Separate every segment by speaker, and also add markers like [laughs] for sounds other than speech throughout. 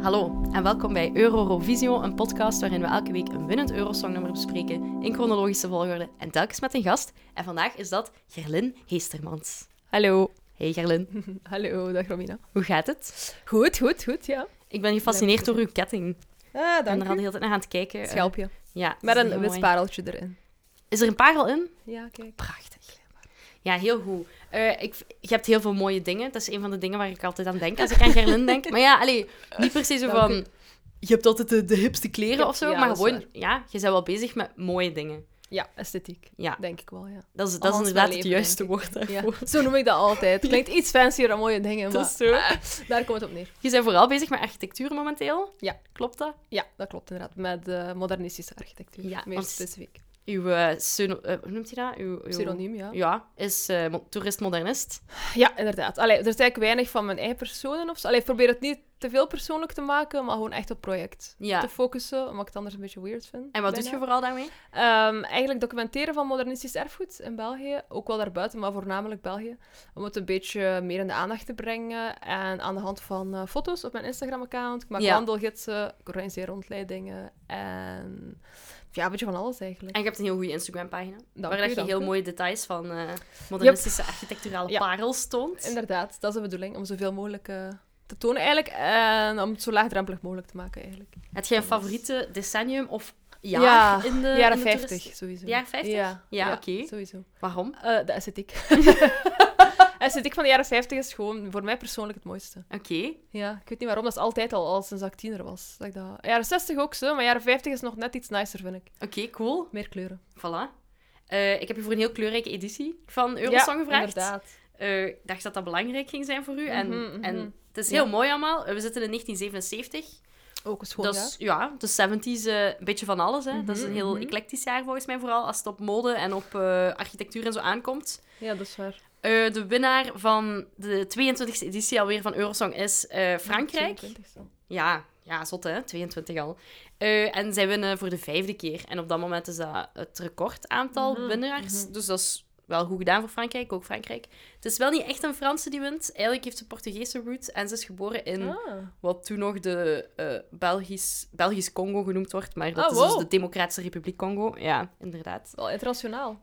Speaker 1: Hallo en welkom bij Eurovisio, een podcast waarin we elke week een winnend Eurosongnummer bespreken in chronologische volgorde en telkens met een gast. En vandaag is dat Gerlin Heestermans.
Speaker 2: Hallo.
Speaker 1: Hey
Speaker 2: [laughs]
Speaker 1: Gerlin,
Speaker 2: Hallo, dag Romina.
Speaker 1: hoe gaat het?
Speaker 2: Goed, goed, goed, ja.
Speaker 1: Ik ben gefascineerd door uw ketting. Ik
Speaker 2: Ah,
Speaker 1: ben er al de hele tijd naar aan het kijken. Eh,
Speaker 2: Schelpje.
Speaker 1: ja, het
Speaker 2: Met
Speaker 1: is
Speaker 2: een
Speaker 1: heel
Speaker 2: wit
Speaker 1: mooi.
Speaker 2: pareltje erin.
Speaker 1: Is er een parel in?
Speaker 2: Ja, kijk.
Speaker 1: Prachtig. Ja, heel goed. Eh, ik, je hebt heel veel mooie dingen. Dat is een van de dingen waar ik altijd aan denk als ik aan Gerlin denk. Maar ja, allee, niet per se zo
Speaker 2: Dank u.
Speaker 1: van... Je hebt altijd de, de hipste kleren
Speaker 2: Ja,
Speaker 1: of zo,
Speaker 2: ja,
Speaker 1: maar
Speaker 2: dat is
Speaker 1: gewoon... Ja, je bent wel bezig met mooie dingen.
Speaker 2: Ja, esthetiek.
Speaker 1: Ja.
Speaker 2: Denk ik wel, ja.
Speaker 1: Dat is, dat is
Speaker 2: Althans,
Speaker 1: inderdaad
Speaker 2: mijn
Speaker 1: het
Speaker 2: leven,
Speaker 1: juiste woord
Speaker 2: ja.
Speaker 1: daarvoor.
Speaker 2: [laughs] Zo noem ik dat altijd. Klinkt iets fancier dan mooie dingen, maar
Speaker 1: Dat is zo.
Speaker 2: daar komt het op neer.
Speaker 1: Je bent vooral bezig met architectuur momenteel.
Speaker 2: Ja.
Speaker 1: Klopt dat?
Speaker 2: Ja, dat klopt inderdaad. Met eh, modernistische architectuur,
Speaker 1: Ja,
Speaker 2: meer
Speaker 1: want-
Speaker 2: specifiek.
Speaker 1: Uw, eh, pseudo- eh, hoe noemt hij dat? Uw, uw-
Speaker 2: Pseudoniem, ja.
Speaker 1: Ja, is eh, mo- toerist-modernist.
Speaker 2: Ja, inderdaad. Allee, er is eigenlijk weinig van mijn eigen personen of zo. Allee, ik probeer het niet te veel persoonlijk te maken, maar gewoon echt op project
Speaker 1: Ja.
Speaker 2: te focussen, omdat ik het anders een beetje weird vind.
Speaker 1: En wat doet
Speaker 2: bijna.
Speaker 1: je vooral daarmee?
Speaker 2: Ehm, eigenlijk documenteren van modernistisch erfgoed in België, ook wel daarbuiten, maar voornamelijk België. Om het een beetje meer in de aandacht te brengen. En aan de hand van eh, foto's op mijn Instagram-account. Ik maak
Speaker 1: Ja.
Speaker 2: wandelgidsen, ik organiseer rondleidingen. En ja, een beetje van alles eigenlijk.
Speaker 1: En je hebt een heel goede Instagram-pagina.
Speaker 2: Dank
Speaker 1: waar
Speaker 2: u,
Speaker 1: dat je
Speaker 2: dank
Speaker 1: heel
Speaker 2: u.
Speaker 1: mooie details van eh, modernistische architecturale
Speaker 2: Ja.
Speaker 1: parels toont.
Speaker 2: Inderdaad, dat is de bedoeling, om zoveel mogelijk eh, te tonen eigenlijk. En om het zo laagdrempelig mogelijk te maken eigenlijk.
Speaker 1: Heb jij een favoriete decennium of jaar
Speaker 2: Ja,
Speaker 1: in de
Speaker 2: De jaren
Speaker 1: in de toerist-
Speaker 2: 50, sowieso.
Speaker 1: De jaren 50?
Speaker 2: Ja,
Speaker 1: Ja, oké.
Speaker 2: Sowieso.
Speaker 1: Waarom?
Speaker 2: Eh, de esthetiek. esthetiek van [laughs] de jaren 50 is gewoon voor mij persoonlijk het mooiste.
Speaker 1: Oké.
Speaker 2: Ja, ik weet niet waarom, dat is altijd al, al sinds ik tiener was. Dat ik dat... Jaren 60 ook zo, maar jaren 50 is nog net iets nicer, vind ik.
Speaker 1: Oké, cool.
Speaker 2: Meer kleuren.
Speaker 1: Voilà. Eh, ik heb je voor een heel kleurrijke editie van Eurosong gevraagd.
Speaker 2: inderdaad.
Speaker 1: Eh, ik dacht dat dat belangrijk ging zijn voor u. En,
Speaker 2: Mhm, mhm.
Speaker 1: en het is heel
Speaker 2: Ja.
Speaker 1: mooi allemaal. Eh, We zitten in 1977.
Speaker 2: Ook een schoon
Speaker 1: Dat is, ja, de 70s, eh, een beetje van alles. Hè. dat is een
Speaker 2: Mhm,
Speaker 1: heel
Speaker 2: mhm.
Speaker 1: eclectisch jaar volgens mij, vooral als het op mode en op eh, architectuur en zo aankomt.
Speaker 2: ja. ja, dat is waar.
Speaker 1: Eh, de winnaar van de 22e editie alweer van Eurosong is eh, Frankrijk.
Speaker 2: 22 dan.
Speaker 1: Ja, ja, zot hè, 22 al. Eh, en zij winnen voor de vijfde keer. En op dat moment is dat het recordaantal
Speaker 2: Mhm,
Speaker 1: winnaars. Dus dat is wel goed gedaan voor Frankrijk, ook Frankrijk. Het is wel niet echt een Franse die wint. Eigenlijk heeft ze Portugese roots en ze is geboren in
Speaker 2: Ah.
Speaker 1: wat toen nog de eh, Belgisch, Belgisch Congo genoemd wordt. Maar dat
Speaker 2: Ah,
Speaker 1: is
Speaker 2: wow.
Speaker 1: dus de Democratische Republiek Congo. Ja, inderdaad.
Speaker 2: Wel internationaal.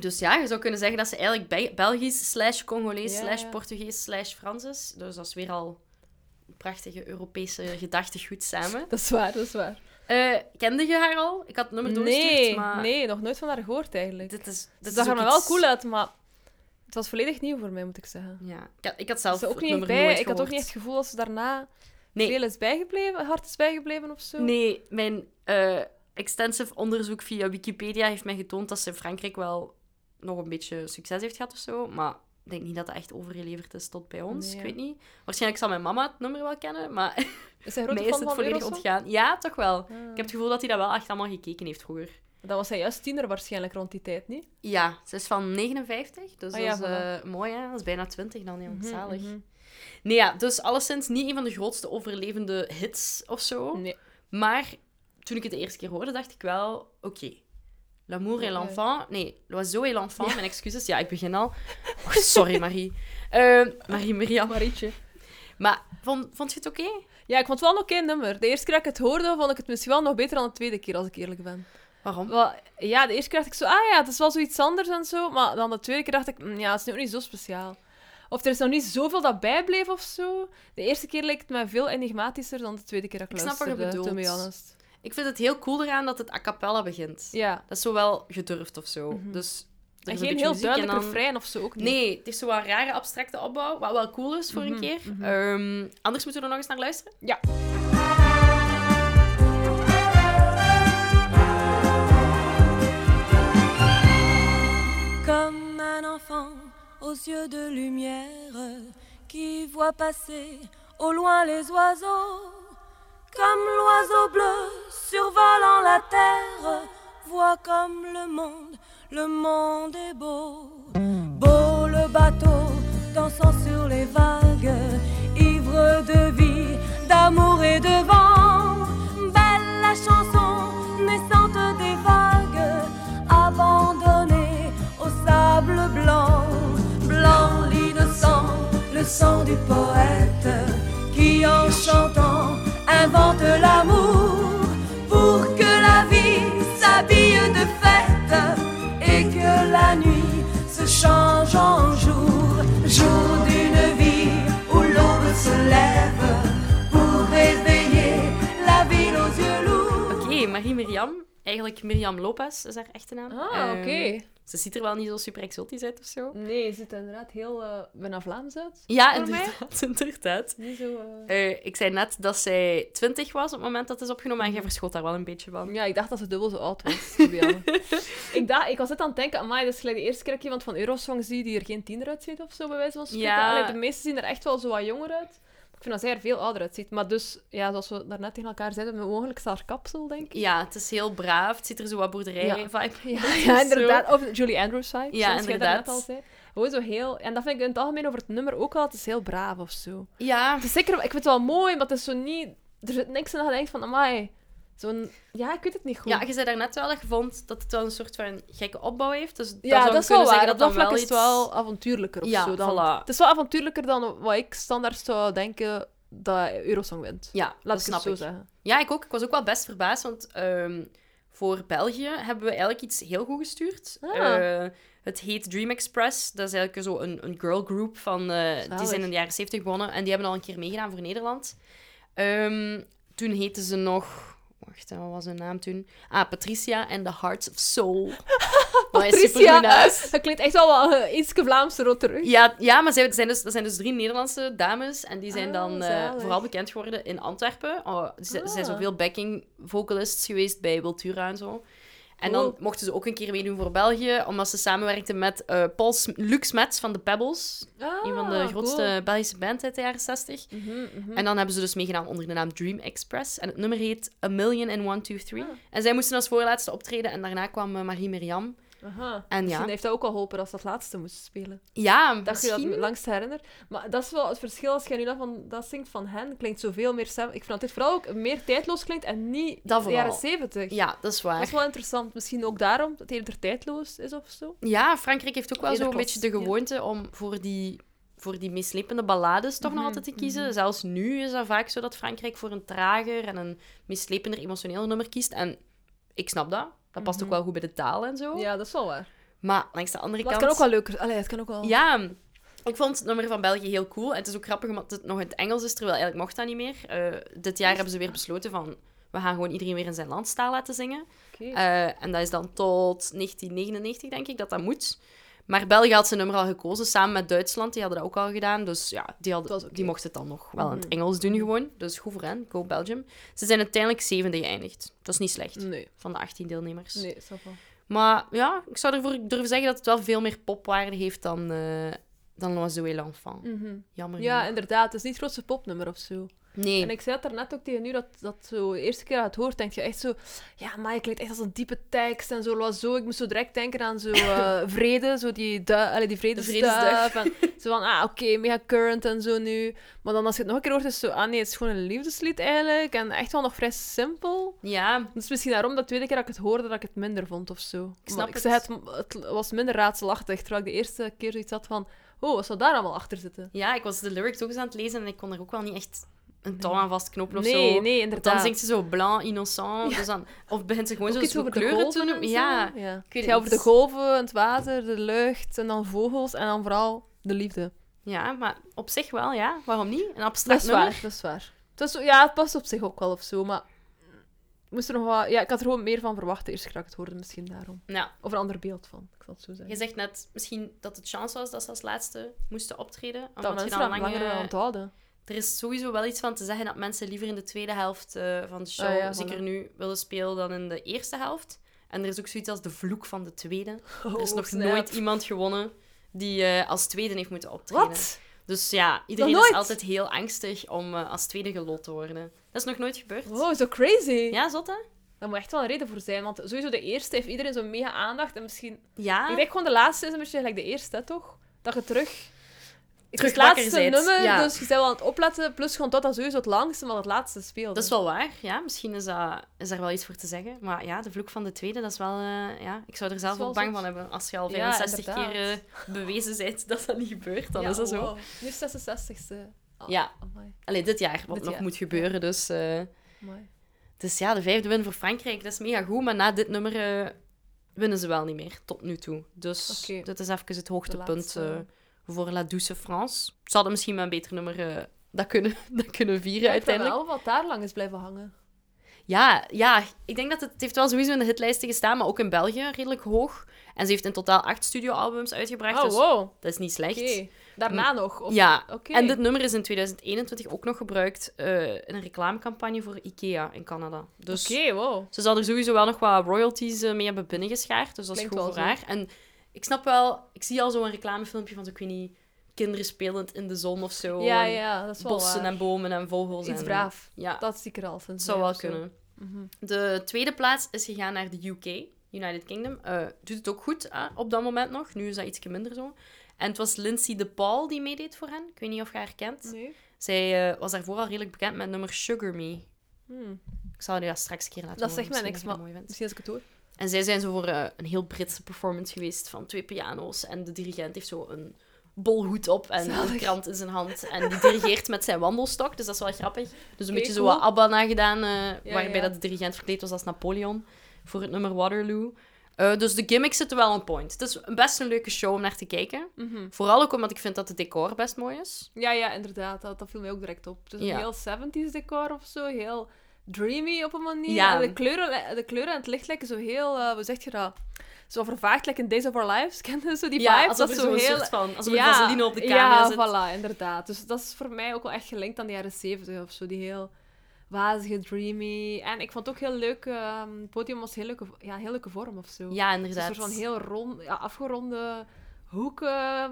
Speaker 1: Dus ja, je zou kunnen zeggen dat ze eigenlijk Be- Belgisch slash Congolees
Speaker 2: Ja,
Speaker 1: slash
Speaker 2: ja.
Speaker 1: Portugees slash Frans is. Dus dat is weer al een prachtige Europese gedachtegoed samen.
Speaker 2: Dat is waar, dat is waar.
Speaker 1: Eh, kende je haar al? Ik had het nummer doorgestuurd,
Speaker 2: nee,
Speaker 1: maar...
Speaker 2: nee, nog nooit van haar gehoord eigenlijk. Dus
Speaker 1: Dit is,
Speaker 2: Ze
Speaker 1: dit
Speaker 2: zag
Speaker 1: is
Speaker 2: er
Speaker 1: ook
Speaker 2: maar wel
Speaker 1: iets-
Speaker 2: cool uit, maar het was volledig nieuw voor mij, moet ik zeggen.
Speaker 1: Ja, ik had, ik had
Speaker 2: Ze
Speaker 1: zelf
Speaker 2: was ook
Speaker 1: het
Speaker 2: niet echt
Speaker 1: nummer
Speaker 2: bij.
Speaker 1: nooit
Speaker 2: Ik had ook
Speaker 1: gehoord.
Speaker 2: niet echt het gevoel dat ze daarna
Speaker 1: Nee.
Speaker 2: veel is bijgebleven, hard is bijgebleven of zo.
Speaker 1: Nee, mijn eh, extensive onderzoek via Wikipedia heeft mij getoond dat ze in Frankrijk wel nog een beetje succes heeft gehad of zo. Maar ik denk niet dat dat echt overgeleverd is tot bij ons.
Speaker 2: Nee,
Speaker 1: Ik
Speaker 2: ja.
Speaker 1: weet niet. Waarschijnlijk zal mijn mama het nummer wel kennen, maar
Speaker 2: Is hij een
Speaker 1: mij is
Speaker 2: grote fan
Speaker 1: het
Speaker 2: van
Speaker 1: volledig
Speaker 2: Eurosong?
Speaker 1: ontgaan. Ja, toch wel. Ik
Speaker 2: Ah.
Speaker 1: heb het gevoel dat hij dat wel echt allemaal gekeken heeft vroeger.
Speaker 2: Dan was hij juist tiener waarschijnlijk rond die tijd, niet?
Speaker 1: Ja, ze is van 59, dus
Speaker 2: Ah ja,
Speaker 1: dat is eh, mooi hè. Dat is bijna 20 dan, heel zalig.
Speaker 2: Mhm,
Speaker 1: Nee, ja, dus alleszins niet een van de grootste overlevende hits of zo.
Speaker 2: mhm. Nee.
Speaker 1: Maar toen ik het de eerste keer hoorde, dacht ik wel, oké. L'amour et
Speaker 2: Ja.
Speaker 1: l'enfant. Nee, l'oiseau et l'enfant. Mijn excuses. Ja, ik begin al. Och, sorry, Marie. [laughs] Eh, Marie Miriam.
Speaker 2: Marietje.
Speaker 1: Maar vond, vond je het oké?
Speaker 2: Ja, ik vond het wel een oké nummer. De eerste keer dat ik het hoorde, vond ik het misschien wel nog beter dan de tweede keer, als ik eerlijk ben.
Speaker 1: Waarom?
Speaker 2: Wel, ja, de eerste keer dacht ik zo, ah ja, het is wel zoiets anders en zo. Maar dan de tweede keer dacht ik, mm, ja, het is nu ook niet zo speciaal. Of er is nog niet zoveel dat bijbleef of zo. De eerste keer leek het mij veel enigmatischer dan de tweede keer dat ik,
Speaker 1: Ik snap wat je
Speaker 2: luisterde, to
Speaker 1: bedoelt.
Speaker 2: be honest.
Speaker 1: Ik vind het heel cool eraan dat het a cappella begint.
Speaker 2: Ja.
Speaker 1: Dat is zo wel gedurfd of zo. Dus er
Speaker 2: Mhm. En
Speaker 1: is een
Speaker 2: geen
Speaker 1: beetje
Speaker 2: heel
Speaker 1: muziek en
Speaker 2: duidelijke
Speaker 1: dan-
Speaker 2: refrein of zo ook niet.
Speaker 1: Nee, het is zo een rare abstracte opbouw, wat wel cool is voor een
Speaker 2: Mhm,
Speaker 1: keer.
Speaker 2: mhm.
Speaker 1: Ehm, anders moeten we er nog eens naar luisteren.
Speaker 2: Ja.
Speaker 3: comme un enfant aux yeux de lumière qui voit passer au loin les oiseaux, comme l'oiseau bleu survolant la terre, voit comme le monde, le monde est beau. Beau le bateau dansant sur les vagues, ivre de vie, d'amour et de vent, belle la chanson naissante des vagues, abandonnée au sable blanc, blanc l'innocent, le sang du poète, qui en chantant invente l'amour pour que la vie s'habille de fête et que la nuit se change en jour, jour d'une vie où l'aube se lève pour réveiller la ville aux yeux lourds.
Speaker 1: Oké, Marie Miriam. Eigenlijk Miriam Lopez is haar echte naam.
Speaker 2: Ah,
Speaker 1: Ehm,
Speaker 2: oké.
Speaker 1: Ze ziet er wel niet zo super exotisch uit of zo.
Speaker 2: Nee, je ziet inderdaad heel eh bijna Vlaams uit.
Speaker 1: Ja,
Speaker 2: Voor mij?
Speaker 1: inderdaad. [laughs] inderdaad.
Speaker 2: Niet zo... eh,
Speaker 1: Eh, ik zei net dat zij 20 was op het moment dat het is opgenomen.
Speaker 2: Mhm.
Speaker 1: En jij verschoot daar wel een beetje van.
Speaker 2: Ja, ik dacht dat ze dubbel zo oud was. to be [laughs] honest. ik, dacht, ik was net aan het denken, amai, dat is gelijk de eerste keer dat ik iemand van Eurosong zie die er geen tiener uitziet of zo, bij wijze van spreken.
Speaker 1: Ja.
Speaker 2: Allee, de meesten zien er echt wel zo wat jonger uit. Ik vind dat zij er veel ouder uitziet. Maar dus, ja, zoals we daarnet tegen elkaar zeiden, met mogelijk haar kapsel, denk ik.
Speaker 1: Ja, het is heel braaf. Het ziet er zo wat [laughs] boerderij-vibe
Speaker 2: Ja,
Speaker 1: Zo.
Speaker 2: ja inderdaad. Of Julie Andrews vibe,
Speaker 1: Ja,
Speaker 2: zoals jij daarnet
Speaker 1: inderdaad.
Speaker 2: al zei. Gewoon zo heel... En dat vind ik in het algemeen over het nummer ook wel, het is heel braaf of zo.
Speaker 1: Ja,
Speaker 2: Het is zeker, ik vind het wel mooi, maar het is zo niet... Er zit niks in dat je denkt van, amai, zo'n... Ja, ik weet het niet goed.
Speaker 1: ja, je zei daarnet wel dat je vond dat het wel een soort van gekke opbouw heeft. Dus daar
Speaker 2: Ja,
Speaker 1: zou
Speaker 2: dat
Speaker 1: je
Speaker 2: is wel
Speaker 1: kunnen
Speaker 2: waar.
Speaker 1: zeggen
Speaker 2: Dat
Speaker 1: dat
Speaker 2: dat
Speaker 1: dan
Speaker 2: vlak
Speaker 1: wel
Speaker 2: is
Speaker 1: iets...
Speaker 2: het wel avontuurlijker of
Speaker 1: Ja,
Speaker 2: zo. Dan.
Speaker 1: voilà.
Speaker 2: Het is wel avontuurlijker dan wat ik standaard zou denken dat Eurosong wint.
Speaker 1: Ja,
Speaker 2: Laat
Speaker 1: dat
Speaker 2: ik
Speaker 1: snap
Speaker 2: het zo
Speaker 1: ik.
Speaker 2: zeggen.
Speaker 1: Ja, ik ook. Ik was ook wel best verbaasd, want ehm, voor België hebben we eigenlijk iets heel goed gestuurd.
Speaker 2: Ah.
Speaker 1: Eh, het heet Dream Express. Dat is eigenlijk zo een, een girl group van... eh, die
Speaker 2: Zalig.
Speaker 1: zijn in de jaren 70 begonnen en die hebben al een keer meegedaan voor Nederland. Ehm, toen heette ze nog... Wacht, wat was hun naam toen? Ah, Patricia and the Hearts of
Speaker 2: [laughs]
Speaker 1: Soul. Wat een
Speaker 2: Patricia,
Speaker 1: supergoeie naam.
Speaker 2: [laughs] dat klinkt echt wel wat eh, ietske Vlaamse rot terug.
Speaker 1: Ja, ja maar zij, zijn dus, dat zijn dus drie Nederlandse dames. En die zijn
Speaker 2: Ah,
Speaker 1: dan eh,
Speaker 2: zalig.
Speaker 1: vooral bekend geworden in Antwerpen. Oh, ze, ze zijn
Speaker 2: Ah.
Speaker 1: zoveel backing vocalists geweest bij Wiltura en zo. En dan
Speaker 2: Cool.
Speaker 1: mochten ze ook een keer meedoen voor België, omdat ze samenwerkten met eh, Paul S- Luc Smets van de Pebbles.
Speaker 2: Ah,
Speaker 1: een van de grootste Belgische band uit de jaren 60.
Speaker 2: cool. Mhm, mhm.
Speaker 1: En dan hebben ze dus meegedaan onder de naam Dream Express. En het nummer heet A Million in One, Two, Three.
Speaker 2: Ah.
Speaker 1: En zij moesten als voorlaatste optreden. En daarna kwam eh, Marie Miriam.
Speaker 2: Aha.
Speaker 1: En
Speaker 2: Misschien
Speaker 1: ja,
Speaker 2: heeft dat ook al geholpen als dat laatste moest spelen.
Speaker 1: ja
Speaker 2: Dat je dat
Speaker 1: misschien-
Speaker 2: me langs herinnert. Maar dat is wel het verschil als je nu dat, van, dat zingt van hen. Klinkt zoveel meer... sam- Ik vind dat dit vooral ook meer tijdloos klinkt en niet
Speaker 1: Dat
Speaker 2: de jaren
Speaker 1: vooral.
Speaker 2: zeventig.
Speaker 1: Ja, dat is waar.
Speaker 2: [laughs] Dat is wel interessant. Misschien ook daarom dat het er tijdloos is of zo.
Speaker 1: Ja, Frankrijk heeft ook wel
Speaker 2: Ja,
Speaker 1: zo'n
Speaker 2: dat klopt.
Speaker 1: beetje de
Speaker 2: Ja.
Speaker 1: gewoonte om voor die, voor die meeslepende ballades toch nog
Speaker 2: Mhm,
Speaker 1: altijd te kiezen. Zelfs nu is dat vaak zo dat Frankrijk voor een trager en een meeslepender emotioneel nummer kiest. En ik snap dat. Dat past ook wel goed bij de taal en zo.
Speaker 2: Mhm. Ja, dat is wel waar.
Speaker 1: Maar langs de andere
Speaker 2: Oh. Maar het
Speaker 1: kant...
Speaker 2: kan ook wel leuker. Allee, het kan ook wel...
Speaker 1: Ja, ik vond het nummer van België heel cool. En het is ook grappig omdat het nog in het Engels is, terwijl eigenlijk mocht dat niet meer. Eh, dit jaar hebben ze weer besloten van... We gaan gewoon iedereen weer in zijn landstaal laten zingen.
Speaker 2: Oké.
Speaker 1: Eh, en dat is dan tot 1999, denk ik, dat dat moet. Maar België had zijn nummer al gekozen, samen met Duitsland. Die hadden dat ook al gedaan. Dus ja, die, hadden,
Speaker 2: Dat was oké.
Speaker 1: die mochten het dan nog wel in het
Speaker 2: Mhm.
Speaker 1: Engels doen gewoon. Dus goed voor hen, go Belgium. Ze zijn uiteindelijk zevende geëindigd. Dat is niet slecht,
Speaker 2: Nee,
Speaker 1: van de 18 deelnemers.
Speaker 2: Mm. nee, snap wel.
Speaker 1: Maar ja, ik zou ervoor durven zeggen dat het wel veel meer popwaarde heeft dan, eh dan L'Oiseau et l'Enfant.
Speaker 2: Mhm.
Speaker 1: Jammer
Speaker 2: Ja,
Speaker 1: genoeg.
Speaker 2: inderdaad. Het is niet het grootste popnummer of zo.
Speaker 1: Oh, Nee,
Speaker 2: En ik zei het daarnet ook tegen u, dat, dat zo de eerste keer dat je het hoort, denk je echt zo... Ja, maar het klinkt echt als een diepe tekst en zo. wat zo. Ik moest zo direct denken
Speaker 1: [laughs]
Speaker 2: aan zo eh, vrede, zo die, du- allee, die vredesduif.
Speaker 1: vredesduif.
Speaker 2: En zo van, ah, oké, mega current en zo nu. Maar dan als je het nog een keer hoort, is het zo... Ah nee, het is gewoon een liefdeslied eigenlijk. En echt wel nog vrij simpel.
Speaker 1: ja,
Speaker 2: Dus misschien daarom dat tweede keer dat ik het hoorde, dat ik het minder vond of zo.
Speaker 1: snap
Speaker 2: Maar ik
Speaker 1: het.
Speaker 2: zei het, het was minder raadselachtig, terwijl ik de eerste keer zoiets had van... Oh, wat zou daar allemaal achter zitten?
Speaker 1: ja, ik was de lyrics ook eens aan het lezen en ik kon er ook wel niet echt een touw aan vastknopen of zo.
Speaker 2: Mm. nee, nee,
Speaker 1: Want Dan
Speaker 2: inderdaad.
Speaker 1: zingt ze zo blanc, innocent. Dus dan, of begint ze gewoon
Speaker 2: Ook
Speaker 1: zo
Speaker 2: iets
Speaker 1: zo'n
Speaker 2: over de
Speaker 1: kleuren te
Speaker 2: golven
Speaker 1: noemen.
Speaker 2: en zo.
Speaker 1: Ja.
Speaker 2: ja.
Speaker 1: weet
Speaker 2: Het gaat over de
Speaker 1: niet.
Speaker 2: golven, het water, de lucht en dan vogels en dan vooral de liefde.
Speaker 1: ja, maar op zich wel, ja. Waarom niet? Een
Speaker 2: Dat
Speaker 1: abstract
Speaker 2: is
Speaker 1: nummer.
Speaker 2: waar, dat is waar. Het was zo- ja, het past op zich ook wel of zo, maar... ik Moest er nog wat... Ja, ik had er gewoon meer van verwacht de eerste keer dat ik het hoorde, misschien daarom.
Speaker 1: Nou,
Speaker 2: Of een ander beeld van, ik zal het zo
Speaker 1: je
Speaker 2: zeggen.
Speaker 1: zegt net misschien dat het chance was dat ze als laatste moesten optreden.
Speaker 2: Dat
Speaker 1: Omdat je
Speaker 2: mensen
Speaker 1: dan
Speaker 2: dat
Speaker 1: lange-
Speaker 2: langer eh, aan het houden.
Speaker 1: Er is sowieso wel iets van te zeggen dat mensen liever in de tweede helft eh, van de show,
Speaker 2: Ah, ja,
Speaker 1: zeker
Speaker 2: voilà.
Speaker 1: nu, willen spelen dan in de eerste helft. En er is ook zoiets als de vloek van de tweede. er is
Speaker 2: Oh,
Speaker 1: nog
Speaker 2: snap.
Speaker 1: nooit iemand gewonnen die eh, als tweede heeft moeten optreden.
Speaker 2: Wat?
Speaker 1: Dus ja, iedereen
Speaker 2: Nog
Speaker 1: is
Speaker 2: nooit?
Speaker 1: altijd heel angstig om eh, als tweede gelot te worden. Dat is nog nooit gebeurd.
Speaker 2: Wow, zo crazy.
Speaker 1: Ja, zot hè?
Speaker 2: Daar moet echt wel een reden voor zijn, want sowieso de eerste heeft iedereen zo'n mega aandacht. En misschien...
Speaker 1: Ja.
Speaker 2: Ik denk gewoon de laatste is een beetje gelijk de eerste, hè, toch? Dat je terug... Het is
Speaker 1: Terug
Speaker 2: het laatste
Speaker 1: wakker bent,
Speaker 2: nummer,
Speaker 1: ja.
Speaker 2: dus je bent wel aan het opletten. Plus gewoon dat dat sowieso het langste, maar het laatste speelde.
Speaker 1: Dat is wel waar, ja. Misschien is, dat, is daar wel iets voor te zeggen. Maar ja, de vloek van de tweede, dat is wel... eh, ja, ik zou er zelf
Speaker 2: wel
Speaker 1: ook bang
Speaker 2: zot.
Speaker 1: van hebben. Als je al
Speaker 2: Ja,
Speaker 1: 65 keer
Speaker 2: inderdaad.
Speaker 1: eh, bewezen bent dat dat niet gebeurt, dan
Speaker 2: Ja,
Speaker 1: is dat zo.
Speaker 2: wow. Nu is 66ste.
Speaker 1: Ja.
Speaker 2: Ah, Amai,
Speaker 1: Allee, dit jaar, wat
Speaker 2: Dit
Speaker 1: nog
Speaker 2: jaar,
Speaker 1: moet
Speaker 2: ja.
Speaker 1: gebeuren. Dus, eh,
Speaker 2: amai.
Speaker 1: dus ja, de vijfde win voor Frankrijk, dat is mega goed. Maar na dit nummer eh, winnen ze wel niet meer, tot nu toe. Dus
Speaker 2: Oké.
Speaker 1: dit is even het hoogtepunt
Speaker 2: laatste.
Speaker 1: eh, voor La Douce France. Ze hadden misschien met een beter nummer eh, dat, kunnen, [laughs] dat kunnen vieren
Speaker 2: Ik denk
Speaker 1: uiteindelijk.
Speaker 2: wel wat daar lang is blijven hangen.
Speaker 1: Ja, ja, ik denk dat het, het heeft wel sowieso in de hitlijsten gestaan, maar ook in België redelijk hoog. En ze heeft in totaal acht studioalbums uitgebracht,
Speaker 2: Oh,
Speaker 1: dus
Speaker 2: wow.
Speaker 1: dat is niet slecht.
Speaker 2: Oké. Daarna nog? Of...
Speaker 1: Ja,
Speaker 2: Oké.
Speaker 1: en dit nummer is in 2021 ook nog gebruikt eh, in een reclamecampagne voor IKEA in Canada. Dus
Speaker 2: Oké, wow.
Speaker 1: ze zal er sowieso wel nog wat royalties eh, mee hebben binnengeschaard, dus dat is
Speaker 2: Klinkt
Speaker 1: goed
Speaker 2: wel
Speaker 1: voor
Speaker 2: zo.
Speaker 1: haar. En ik snap wel, ik zie al zo'n reclamefilmpje van, zo, ik weet niet, kinderen spelend in de zon of zo.
Speaker 2: Ja,
Speaker 1: en
Speaker 2: ja, dat is wel
Speaker 1: Bossen
Speaker 2: waar.
Speaker 1: en bomen en vogels.
Speaker 2: Iets
Speaker 1: en,
Speaker 2: braaf.
Speaker 1: Ja,
Speaker 2: Dat zie ik er al van.
Speaker 1: het zou
Speaker 2: zijn
Speaker 1: wel
Speaker 2: of zo.
Speaker 1: kunnen.
Speaker 2: Mhm.
Speaker 1: De tweede plaats is gegaan naar de UK, United Kingdom. Eh, doet het ook goed eh, op dat moment nog. Nu is dat iets minder zo. En het was Lindsay de Paul die meedeed voor hen. Ik weet niet of je haar kent.
Speaker 2: Nee.
Speaker 1: Zij eh, was daarvoor al redelijk bekend met nummer Sugar Me.
Speaker 2: Hm.
Speaker 1: Ik zal je dat straks een keer laten
Speaker 2: Dat
Speaker 1: horen,
Speaker 2: zegt
Speaker 1: misschien
Speaker 2: mij
Speaker 1: dat
Speaker 2: niks,
Speaker 1: je dat mooi vindt.
Speaker 2: Misschien als ik het hoor.
Speaker 1: En zij zijn zo voor eh, een heel Britse performance geweest van twee piano's. En de dirigent heeft zo een bolhoed op en een
Speaker 2: Zalig.
Speaker 1: krant in zijn hand. En die dirigeert met zijn wandelstok, dus dat is wel grappig. Dus een
Speaker 2: Oké,
Speaker 1: beetje zo
Speaker 2: cool.
Speaker 1: wat ABBA nagedaan, eh,
Speaker 2: Ja,
Speaker 1: waarbij
Speaker 2: ja.
Speaker 1: dat de dirigent verkleed was als Napoleon voor het nummer Waterloo. Eh, dus de gimmicks zitten wel on point. Het is een best een leuke show om naar te kijken.
Speaker 2: Mhm.
Speaker 1: Vooral ook omdat ik vind dat het decor best mooi is.
Speaker 2: Ja, ja, inderdaad. Dat, dat viel mij ook direct op. Het is
Speaker 1: Ja.
Speaker 2: een heel 70s decor of zo. Heel dreamy op een manier.
Speaker 1: Ja.
Speaker 2: En de kleuren, eh, de kleuren en het licht lijken zo heel... eh, hoe zeg je dat? Zo vervaagd, like in Days of Our Lives. [laughs] Ken je zo die
Speaker 1: ja,
Speaker 2: vibes?
Speaker 1: alsof
Speaker 2: Dat
Speaker 1: er zo'n
Speaker 2: is zo heel...
Speaker 1: soort van... Alsof er vaseline op de camera
Speaker 2: ja,
Speaker 1: zit.
Speaker 2: voilà, inderdaad. Dus dat is voor mij ook wel echt gelinkt aan de jaren 70 of zo. Die heel wazige, dreamy. En ik vond het ook heel leuk. ehm, het podium was heel leuke, ja, heel leuke vorm of zo.
Speaker 1: Ja,
Speaker 2: Dus een
Speaker 1: inderdaad.
Speaker 2: soort van heel rond, ja, afgeronde hoeken,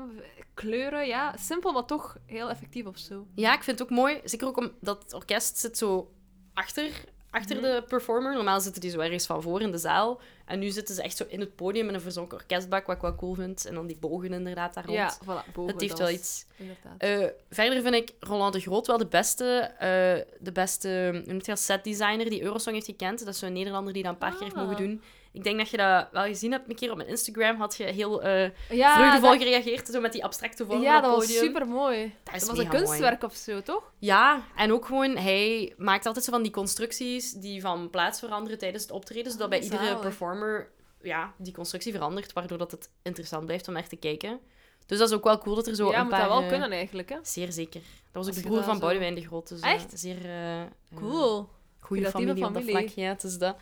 Speaker 2: kleuren. Ja, simpel, maar toch heel effectief of zo.
Speaker 1: Ja, ik vind het ook mooi. Zeker ook omdat het orkest zit zo achter, achter
Speaker 2: Mhm.
Speaker 1: de performer. Normaal zitten die zo ergens van voor in de zaal. En nu zitten ze echt zo in het podium in een verzonken orkestbak, wat ik wel cool vind. En dan die bogen inderdaad daar rond.
Speaker 2: Ja, voilà, boven,
Speaker 1: dat heeft
Speaker 2: dat
Speaker 1: wel
Speaker 2: was-
Speaker 1: iets.
Speaker 2: Inderdaad.
Speaker 1: Eh, verder vind ik Roland de Groot wel de beste, eh, de beste hoe noemt hij dat, setdesigner die Eurosong heeft gekend. Dat is zo'n Nederlander die dat een paar keer heeft
Speaker 2: Ah.
Speaker 1: mogen doen. Ik denk dat je dat wel gezien hebt. Een keer op mijn Instagram had je heel eh
Speaker 2: ja,
Speaker 1: vreugdevol
Speaker 2: dat-
Speaker 1: gereageerd. Zo met die abstracte vormen
Speaker 2: Ja,
Speaker 1: op het
Speaker 2: dat was
Speaker 1: podium.
Speaker 2: super mooi.
Speaker 1: Dat is
Speaker 2: Dat was een
Speaker 1: mega mooi.
Speaker 2: kunstwerk of zo, toch?
Speaker 1: Ja, en ook gewoon, hij maakt altijd zo van die constructies die van plaats veranderen tijdens het optreden, zodat
Speaker 2: Ah,
Speaker 1: bij iedere
Speaker 2: zalig.
Speaker 1: performer ja, die constructie verandert, waardoor dat het interessant blijft om naar te kijken. Dus dat is ook wel cool dat er zo
Speaker 2: ja,
Speaker 1: een
Speaker 2: moet
Speaker 1: paar...
Speaker 2: dat wel
Speaker 1: eh,
Speaker 2: kunnen eigenlijk, hè?
Speaker 1: Zeer zeker. Dat was ook
Speaker 2: Als
Speaker 1: de
Speaker 2: je
Speaker 1: broer
Speaker 2: dat
Speaker 1: van
Speaker 2: zo-
Speaker 1: Boudewijn de Groot. Dus, eh,
Speaker 2: Echt?
Speaker 1: zeer eh, eh,
Speaker 2: Cool.
Speaker 1: goede
Speaker 2: Creatieve
Speaker 1: familie, op dat
Speaker 2: familie.
Speaker 1: vlak. Ja, het is dat.